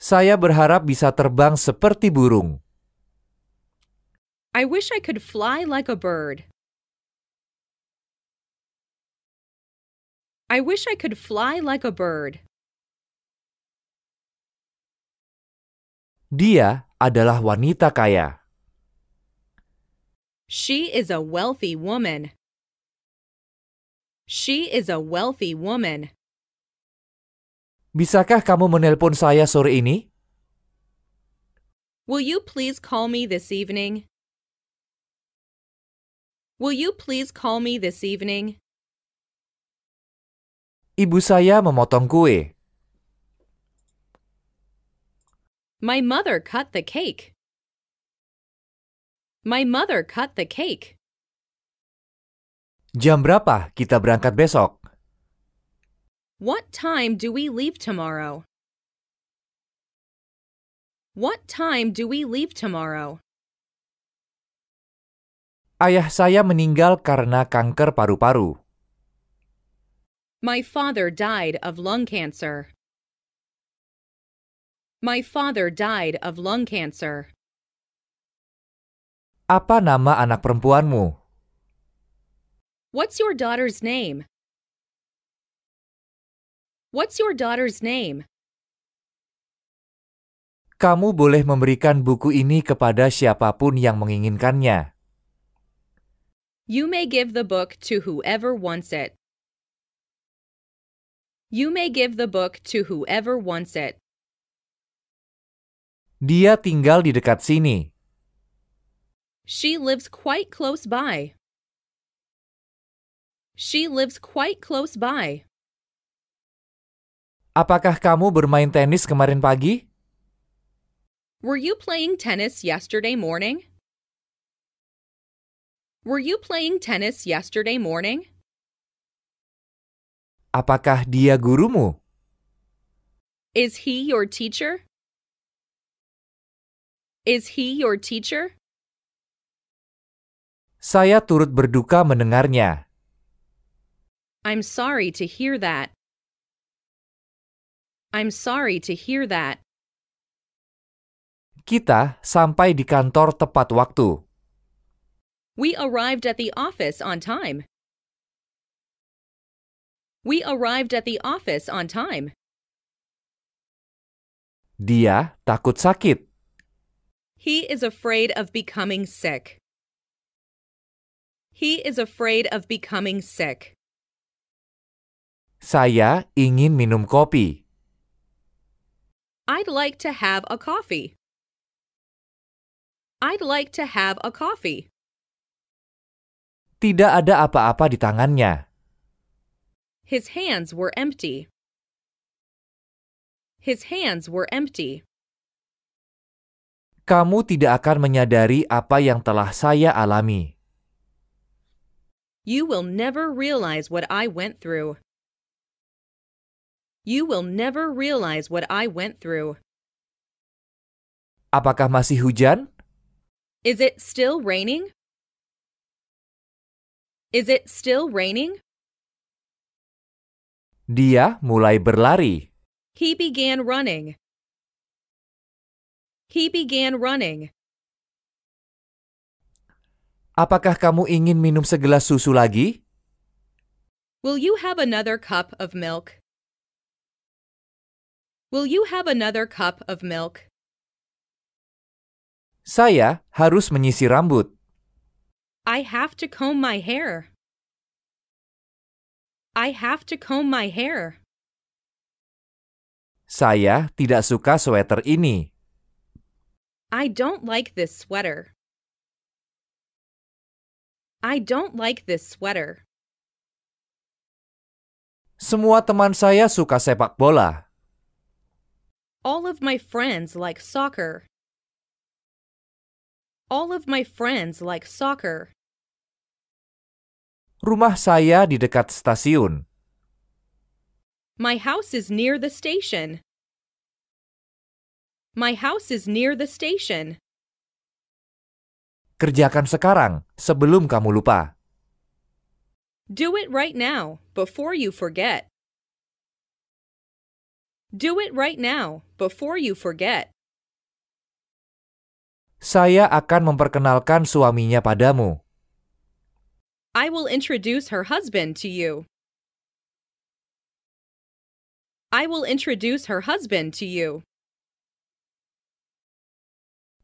Saya berharap bisa terbang seperti burung. I wish I could fly like a bird. I wish I could fly like a bird. Dia adalah wanita kaya. She is a wealthy woman. She is a wealthy woman. Bisakah kamu menelpon saya sore ini? Will you please call me this evening? Will you please call me this evening? Ibu saya memotong kue. My mother cut the cake. My mother cut the cake. Jam berapa kita berangkat besok? What time do we leave tomorrow? What time do we leave tomorrow? Ayah saya meninggal karena kanker paru-paru. My father died of lung cancer. My father died of lung cancer. Apa nama anak perempuanmu? What's your daughter's name? What's your daughter's name? Kamu boleh memberikan buku ini kepada siapapun yang menginginkannya. You may give the book to whoever wants it. You may give the book to whoever wants it. Dia tinggal di dekat sini. She lives quite close by. She lives quite close by. Apakah kamu bermain tenis kemarin pagi? Were you playing tennis yesterday morning? Were you playing tennis yesterday morning? Apakah dia gurumu? Is he your teacher? Is he your teacher? Saya turut berduka mendengarnya. I'm sorry to hear that. I'm sorry to hear that. Kita sampai di kantor tepat waktu. We arrived at the office on time. We arrived at the office on time. Dia takut sakit. He is afraid of becoming sick. He is afraid of becoming sick. Saya ingin minum kopi. I'd like to have a coffee. I'd like to have a coffee. Tidak ada apa-apa di tangannya. His hands were empty. His hands were empty. Kamu tidak akan menyadari apa yang telah saya alami. You will never realize what I went through. You will never realize what I went through. Apakah masih hujan? Is it still raining? Is it still raining? Dia mulai berlari. He began running. He began running. Apakah kamu ingin minum segelas susu lagi? Will you have another cup of milk? Will you have another cup of milk? Saya harus menyisir rambut. I have to comb my hair. I have to comb my hair. Saya tidak suka sweater ini. I don't like this sweater. I don't like this sweater. Semua teman saya suka sepak bola. All of my friends like soccer. All of my friends like soccer. Rumah saya di dekat stasiun. My house is near the station. My house is near the station. Kerjakan sekarang sebelum kamu lupa. Do it right now, before you forget. Do it right now, before you forget. Saya akan memperkenalkan suaminya padamu. I will introduce her husband to you. I will introduce her husband to you.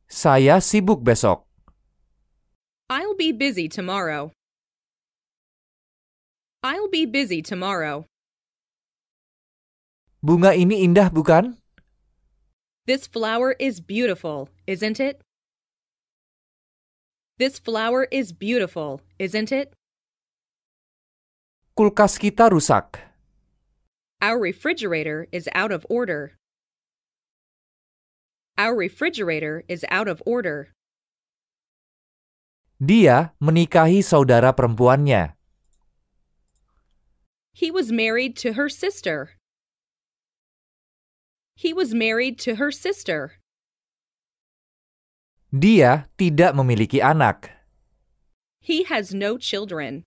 Saya sibuk besok. I'll be busy tomorrow. I'll be busy tomorrow. Bunga ini indah, bukan? This flower is beautiful, isn't it? This flower is beautiful, isn't it? Kulkas kita rusak. Our refrigerator is out of order. Our refrigerator is out of order. Dia menikahi saudara perempuannya. He was married to her sister. He was married to her sister. Dia tidak memiliki anak. He has no children.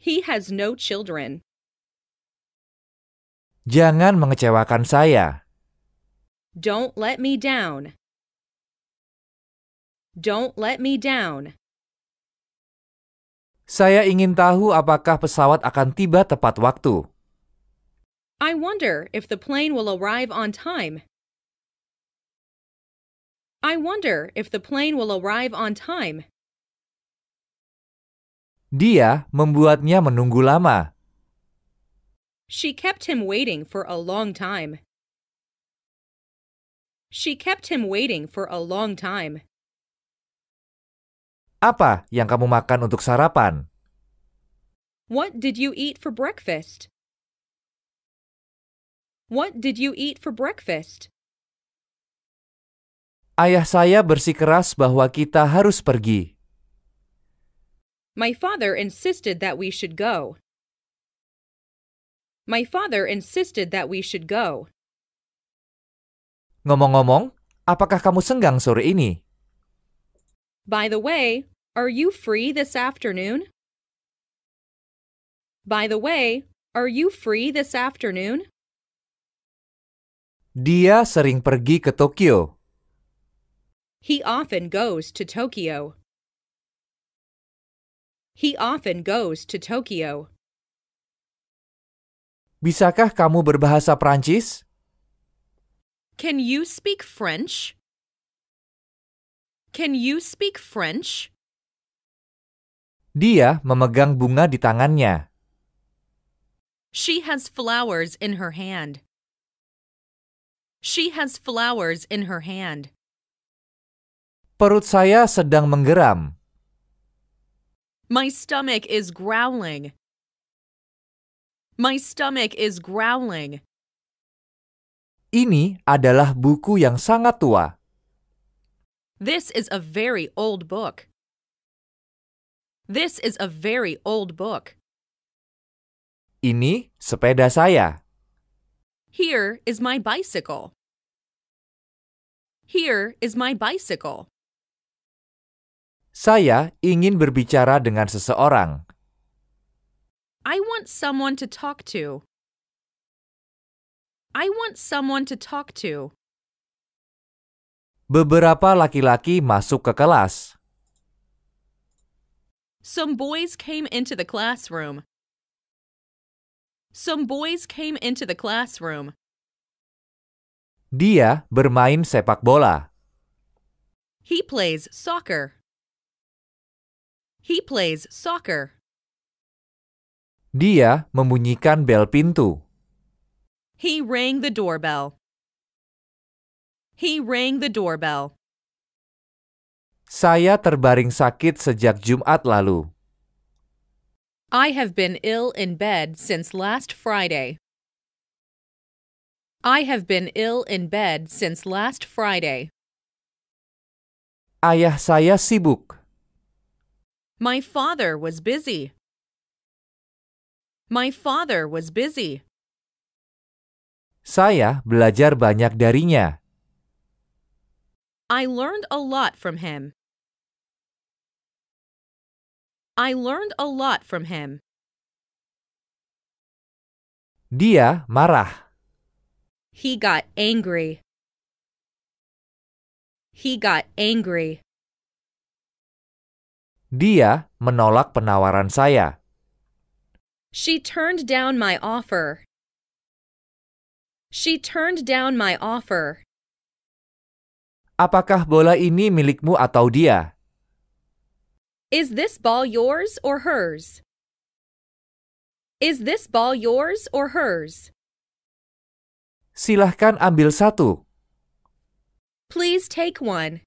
He has no children. Jangan mengecewakan saya. Don't let me down. Don't let me down. Saya ingin tahu apakah pesawat akan tiba tepat waktu. I wonder if the plane will arrive on time. I wonder if the plane will arrive on time. Dia membuatnya menunggu lama. She kept him waiting for a long time. She kept him waiting for a long time. Apa yang kamu makan untuk sarapan? What did you eat for breakfast? What did you eat for breakfast? Ayah saya bersikeras bahwa kita harus pergi. My father insisted that we should go. My father insisted that we should go. Ngomong-ngomong, apakah kamu senggang sore ini? By the way, are you free this afternoon? By the way, are you free this afternoon? Dia sering pergi ke Tokyo. He often goes to Tokyo. He often goes to Tokyo. Bisakah kamu berbahasa Prancis? Can you speak French? Can you speak French? Dia memegang bunga di tangannya. She has flowers in her hand. She has flowers in her hand. Perut saya sedang menggeram. My stomach is growling. My stomach is growling. Ini adalah buku yang sangat tua. This is a very old book. This is a very old book. Ini sepeda saya. Here is my bicycle. Here is my bicycle. Saya ingin berbicara dengan seseorang. I want someone to talk to. I want someone to talk to. Beberapa laki-laki masuk ke kelas. Some boys came into the classroom. Some boys came into the classroom. Dia bermain sepak bola. He plays soccer. He plays soccer. Dia membunyikan bel pintu. He rang the doorbell. He rang the doorbell. Saya terbaring sakit sejak Jumat lalu. I have been ill in bed since last Friday. I have been ill in bed since last Friday. Ayah saya sibuk. My father was busy. My father was busy. Saya belajar banyak darinya. I learned a lot from him. I learned a lot from him. Dia marah. He got angry. He got angry. Dia menolak penawaran saya. She turned down my offer. She turned down my offer. Apakah bola ini milikmu atau dia? Is this ball yours or hers? Is this ball yours or hers? Silahkan ambil satu. Please take one.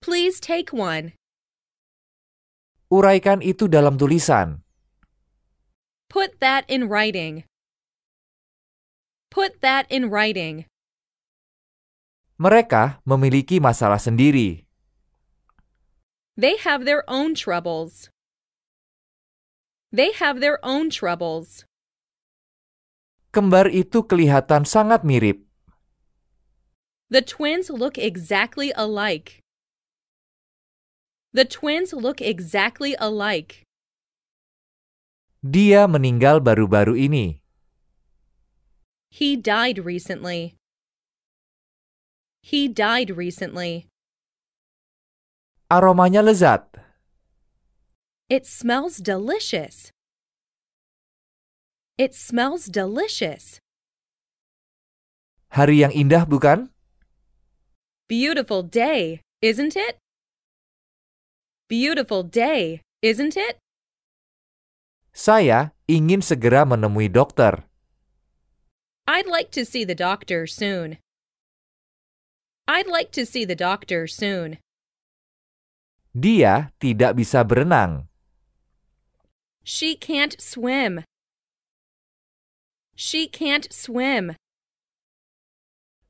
Please take one. Uraikan itu dalam tulisan. Put that in writing. Put that in writing. Mereka memiliki masalah sendiri. They have their own troubles. They have their own troubles. Kembar itu kelihatan sangat mirip. The twins look exactly alike. The twins look exactly alike. Dia meninggal baru-baru ini. He died recently. He died recently. Aromanya lezat. It smells delicious. It smells delicious. Hari yang indah bukan? Beautiful day, isn't it? Beautiful day, isn't it? Saya ingin segera menemui dokter. I'd like to see the doctor soon. I'd like to see the doctor soon. Dia tidak bisa berenang. She can't swim. She can't swim.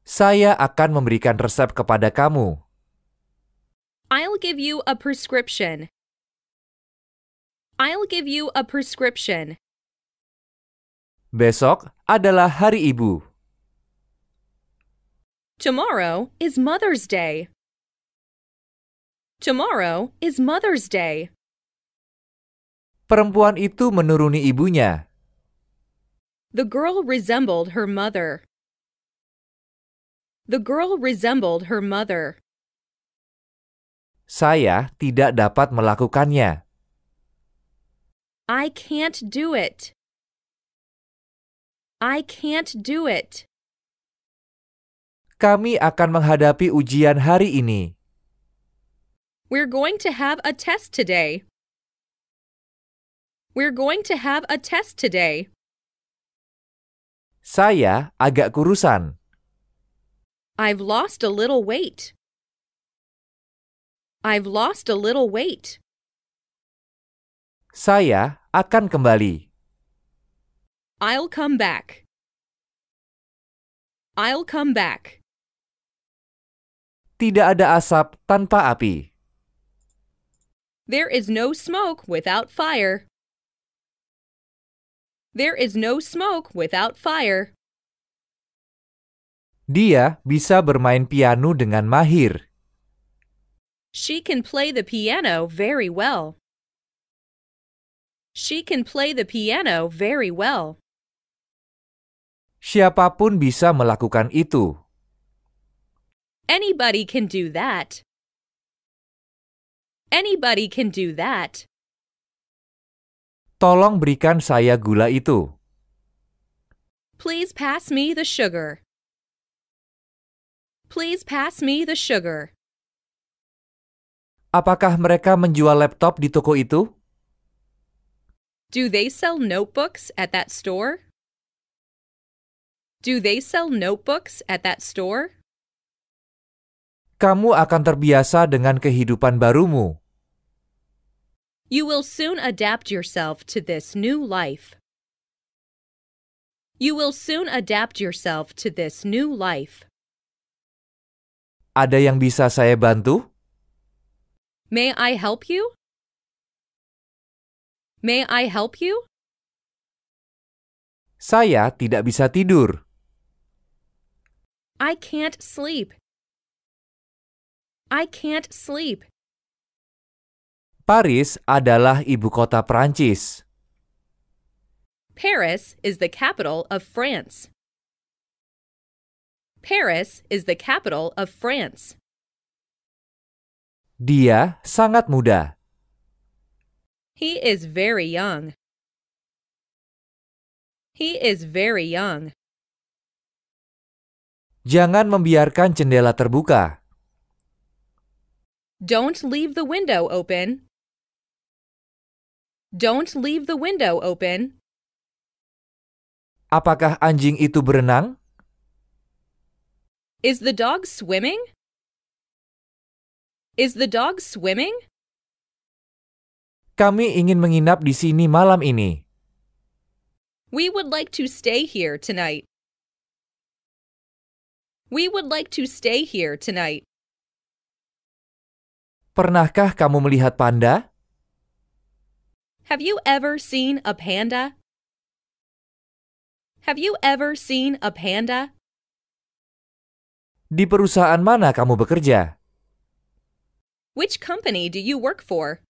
Saya akan memberikan resep kepada kamu. I'll give you a prescription. I'll give you a prescription. Besok adalah hari ibu. Tomorrow is Mother's Day. Tomorrow is Mother's Day. Perempuan itu menuruni ibunya. The girl resembled her mother. The girl resembled her mother. Saya tidak dapat melakukannya. I can't do it. I can't do it. Kami akan menghadapi ujian hari ini. We're going to have a test today. We're going to have a test today. Saya agak kurusan. I've lost a little weight. I've lost a little weight. Saya akan kembali. I'll come back. I'll come back. Tidak ada asap tanpa api. There is no smoke without fire. There is no smoke without fire. Dia bisa bermain piano dengan mahir. She can play the piano very well. She can play the piano very well. Siapapun bisa melakukan itu. Anybody can do that. Anybody can do that. Tolong berikan saya gula itu. Please pass me the sugar. Please pass me the sugar. Apakah mereka menjual laptop di toko itu? Do they sell notebooks at that store? Do they sell notebooks at that store? Kamu akan terbiasa dengan kehidupan barumu. You will soon adapt yourself to this new life. You will soon adapt yourself to this new life. Ada yang bisa saya bantu? May I help you? May I help you? Saya tidak bisa tidur. I can't sleep. I can't sleep. Paris adalah ibu kota Prancis. Paris is the capital of France. Paris is the capital of France. Dia sangat muda. He is very young. He is very young. Jangan membiarkan jendela terbuka. Don't leave the window open. Don't leave the window open. Apakah anjing itu berenang? Is the dog swimming? Is the dog swimming? Kami ingin menginap di sini malam ini. We would like to stay here tonight. We would like to stay here tonight. Pernahkah kamu melihat panda? Have you ever seen a panda? Have you ever seen a panda? Di perusahaan mana kamu bekerja? Which company do you work for?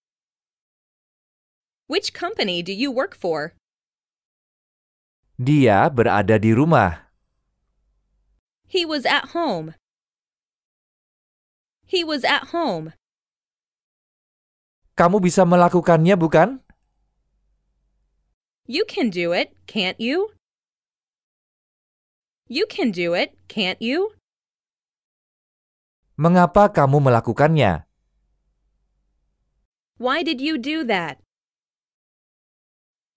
Which company do you work for? Dia berada di rumah. He was at home. He was at home. Kamu bisa melakukannya, bukan? You can do it, can't you? You can do it, can't you? Mengapa kamu melakukannya? Why did you do that?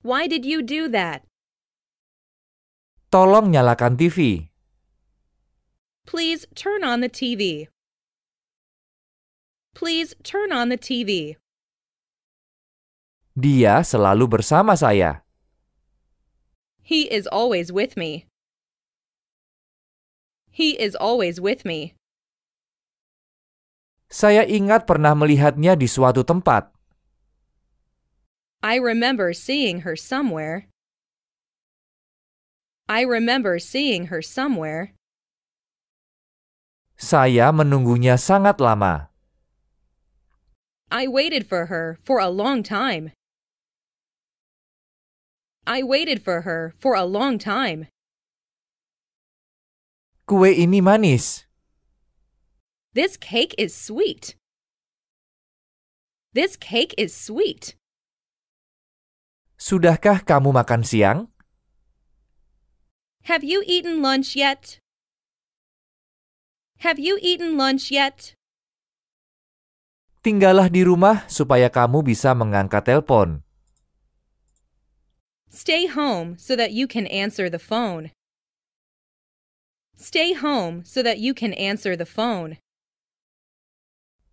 Why did you do that? Tolong nyalakan TV. Please turn on the TV. Please turn on the TV. Dia selalu bersama saya. He is always with me. He is always with me. Saya ingat pernah melihatnya di suatu tempat. I remember seeing her somewhere. I remember seeing her somewhere. Saya menunggunya sangat lama. I waited for her for a long time. I waited for her for a long time. Kue ini manis. This cake is sweet. This cake is sweet. Sudahkah kamu makan siang? Have you eaten lunch yet? Have you eaten lunch yet? Tinggallah di rumah supaya kamu bisa mengangkat telepon. Stay home so that you can answer the phone. Stay home so that you can answer the phone.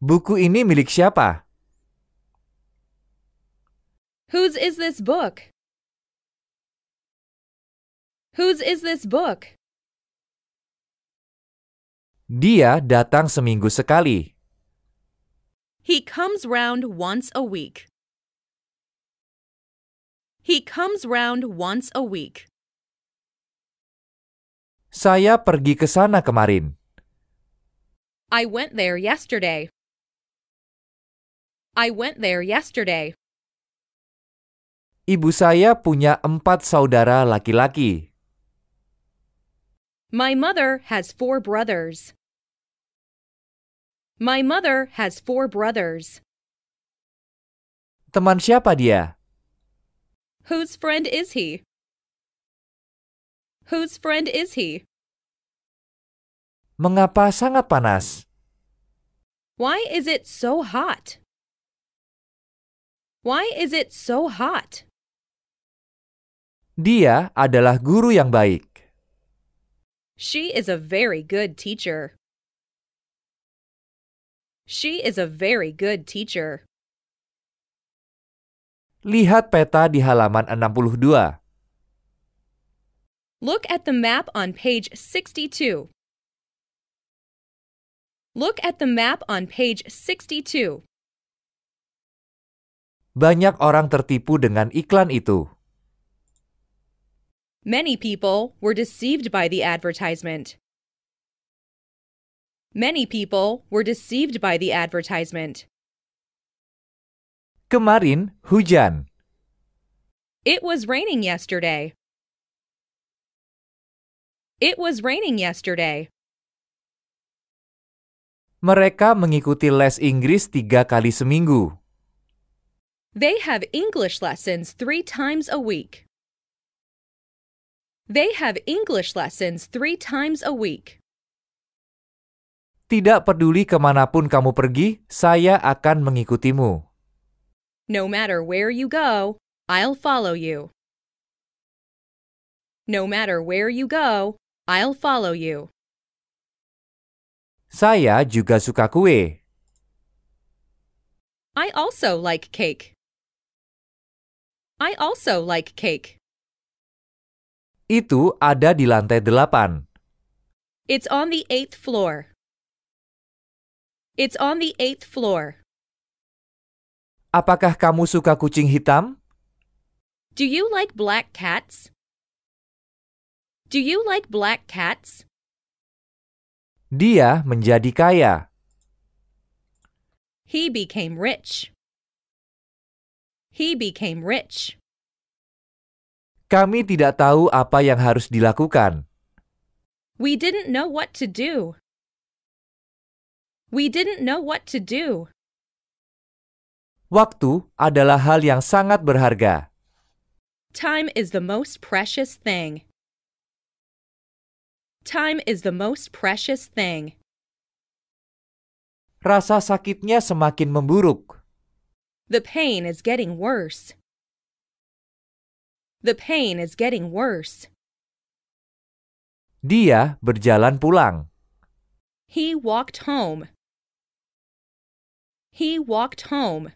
Buku ini milik siapa? Whose is this book? Whose is this book? Dia datang seminggu sekali. He comes round once a week. He comes round once a week. Saya pergi ke sana kemarin. I went there yesterday. I went there yesterday. Ibu saya punya empat saudara laki-laki. My mother has four brothers. My mother has four brothers. Teman siapa dia? Whose friend is he? Whose friend is he? Mengapa sangat panas? Why is it so hot? Why is it so hot? Dia adalah guru yang baik. She is a very good teacher. She is a very good teacher. Lihat peta di halaman 62. Look at the map on page 62. Look at the map on page 62. Banyak orang tertipu dengan iklan itu. Many people were deceived by the advertisement. Many people were deceived by the advertisement. Kemarin hujan. It was raining yesterday. It was raining yesterday. Mereka mengikuti les Inggris tiga kali seminggu. They have English lessons three times a week. They have English lessons three times a week. Tidak peduli kemanapun kamu pergi, saya akan mengikutimu. No matter where you go, I'll follow you. No matter where you go, I'll follow you. Saya juga suka kue. I also like cake. I also like cake. Itu ada di lantai delapan. It's on the eighth floor. It's on the eighth floor. Apakah kamu suka kucing hitam? Do you like black cats? Do you like black cats? Dia menjadi kaya. He became rich. He became rich. Kami tidak tahu apa yang harus dilakukan. We didn't know what to do. We didn't know what to do. Waktu adalah hal yang sangat berharga. Time is the most precious thing. Time is the most precious thing. Rasa sakitnya semakin memburuk. The pain is getting worse. The pain is getting worse. Dia berjalan pulang. He walked home. He walked home.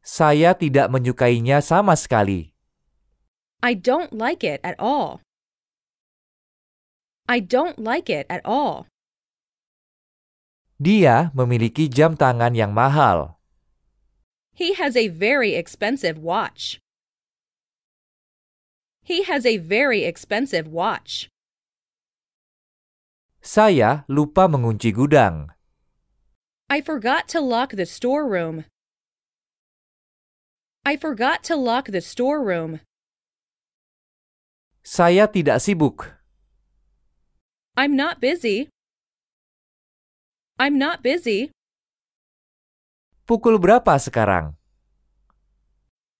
Saya tidak menyukainya sama sekali. I don't like it at all. I don't like it at all. Dia memiliki jam tangan yang mahal. He has a very expensive watch. He has a very expensive watch. Saya lupa mengunci gudang. I forgot to lock the storeroom. I forgot to lock the storeroom. Saya tidak sibuk. I'm not busy. I'm not busy. Pukul berapa sekarang?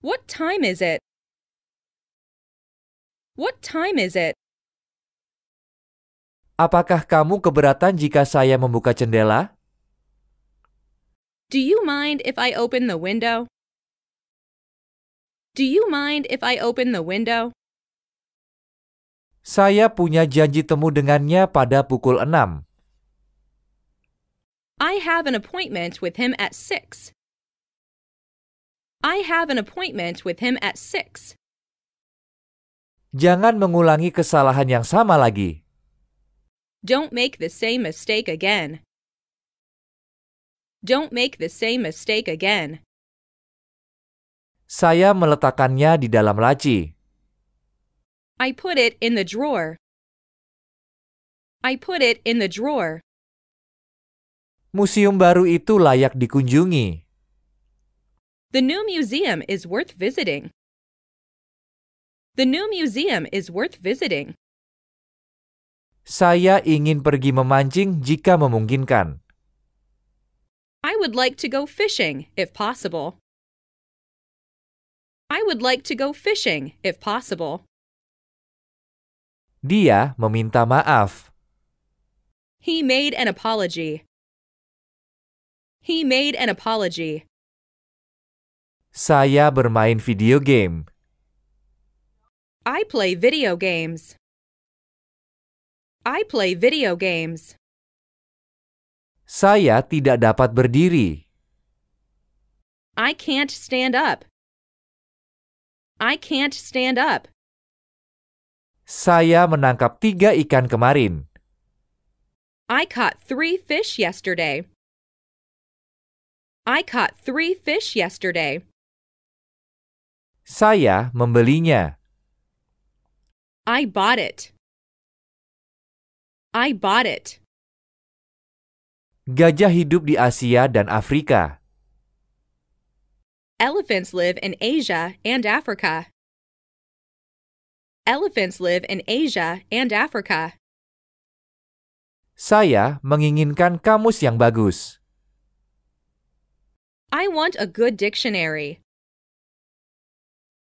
What time is it? What time is it? Apakah kamu keberatan jika saya membuka jendela? Do you mind if I open the window? Do you mind if I open the window? Saya punya janji temu dengannya pada pukul 6. I have an appointment with him at 6. I have an appointment with him at 6. Jangan mengulangi kesalahan yang sama lagi. Don't make the same mistake again. Don't make the same mistake again. Saya meletakkannya di dalam laci. I put it in the drawer. I put it in the drawer. Museum baru itu layak dikunjungi. The new museum is worth visiting. The new museum is worth visiting. Saya ingin pergi memancing jika memungkinkan. I would like to go fishing, if possible. I would like to go fishing, if possible. Dia meminta maaf. He made an apology. He made an apology. Saya bermain video game. I play video games. I play video games. Saya tidak dapat berdiri. I can't stand up. I can't stand up. Saya menangkap tiga ikan kemarin. I caught three fish yesterday. I caught three fish yesterday. Saya membelinya. I bought it. I bought it. Gajah hidup di Asia dan Afrika. Elephants live in Asia and Africa. Elephants live in Asia and Africa. Saya menginginkan kamus yang bagus. I want a good dictionary.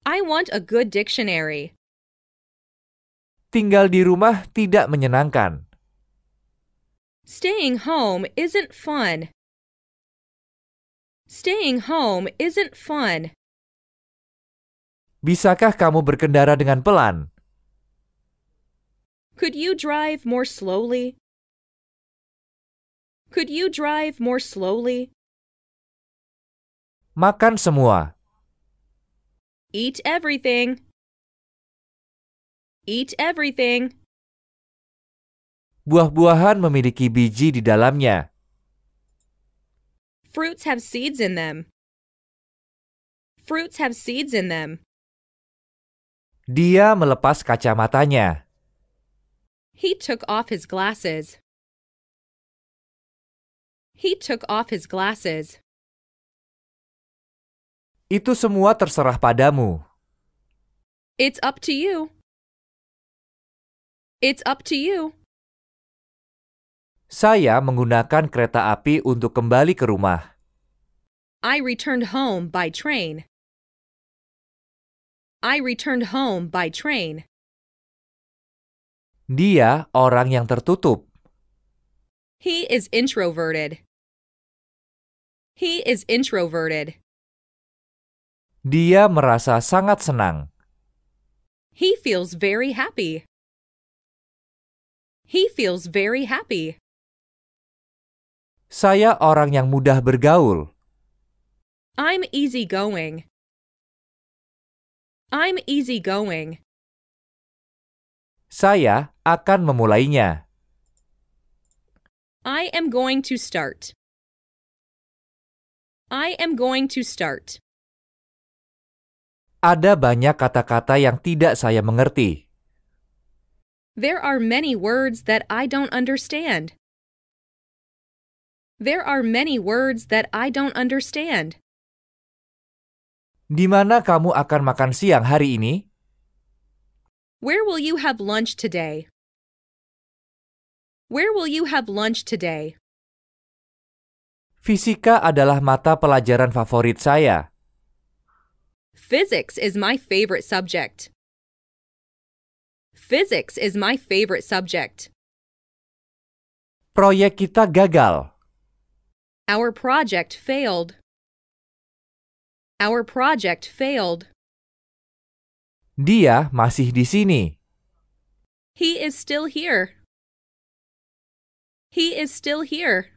I want a good dictionary. Tinggal di rumah tidak menyenangkan. Staying home isn't fun. Staying home isn't fun. Bisakah kamu berkendara dengan pelan? Could you drive more slowly? Could you drive more slowly? Makan semua. Eat everything. Eat everything. Buah-buahan memiliki biji di dalamnya. Fruits have seeds in them. Fruits have seeds in them. Dia melepas kacamatanya. He took off his glasses. He took off his glasses. Itu semua terserah padamu. It's up to you. It's up to you. Saya menggunakan kereta api untuk kembali ke rumah. I returned home by train. I returned home by train. Dia orang yang tertutup. He is introverted. He is introverted. Dia merasa sangat senang. He feels very happy. He feels very happy. Saya orang yang mudah bergaul. I'm easygoing. I'm easygoing. Saya akan memulainya. I am going to start. I am going to start. Ada banyak kata-kata yang tidak saya mengerti. There are many words that I don't understand. There are many words that I don't understand. Di mana kamu akan makan siang hari ini? Where will you have lunch today? Where will you have lunch today? Fisika adalah mata pelajaran favorit saya. Physics is my favorite subject. Physics is my favorite subject. Proyek kita gagal. Our project failed. Our project failed. Dia masih di sini. He is still here. He is still here.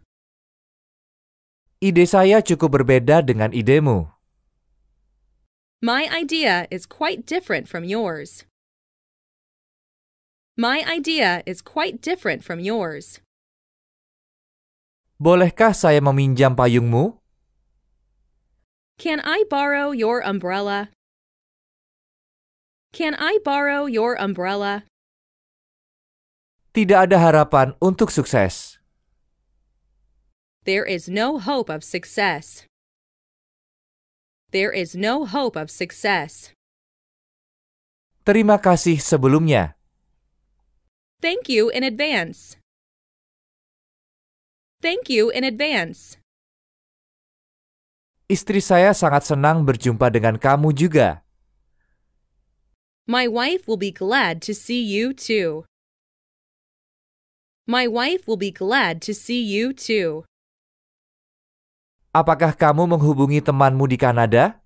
Ide saya cukup berbeda dengan idemu. My idea is quite different from yours. My idea is quite different from yours. Bolehkah saya meminjam payungmu? Can I borrow your umbrella? Can I borrow your umbrella? Tidak ada harapan untuk sukses. There is no hope of success. There is no hope of success. Terima kasih sebelumnya. Thank you in advance. Thank you in advance. Istri saya sangat senang berjumpa dengan kamu juga. My wife will be glad to see you too. My wife will be glad to see you too. Apakah kamu menghubungi temanmu di Kanada?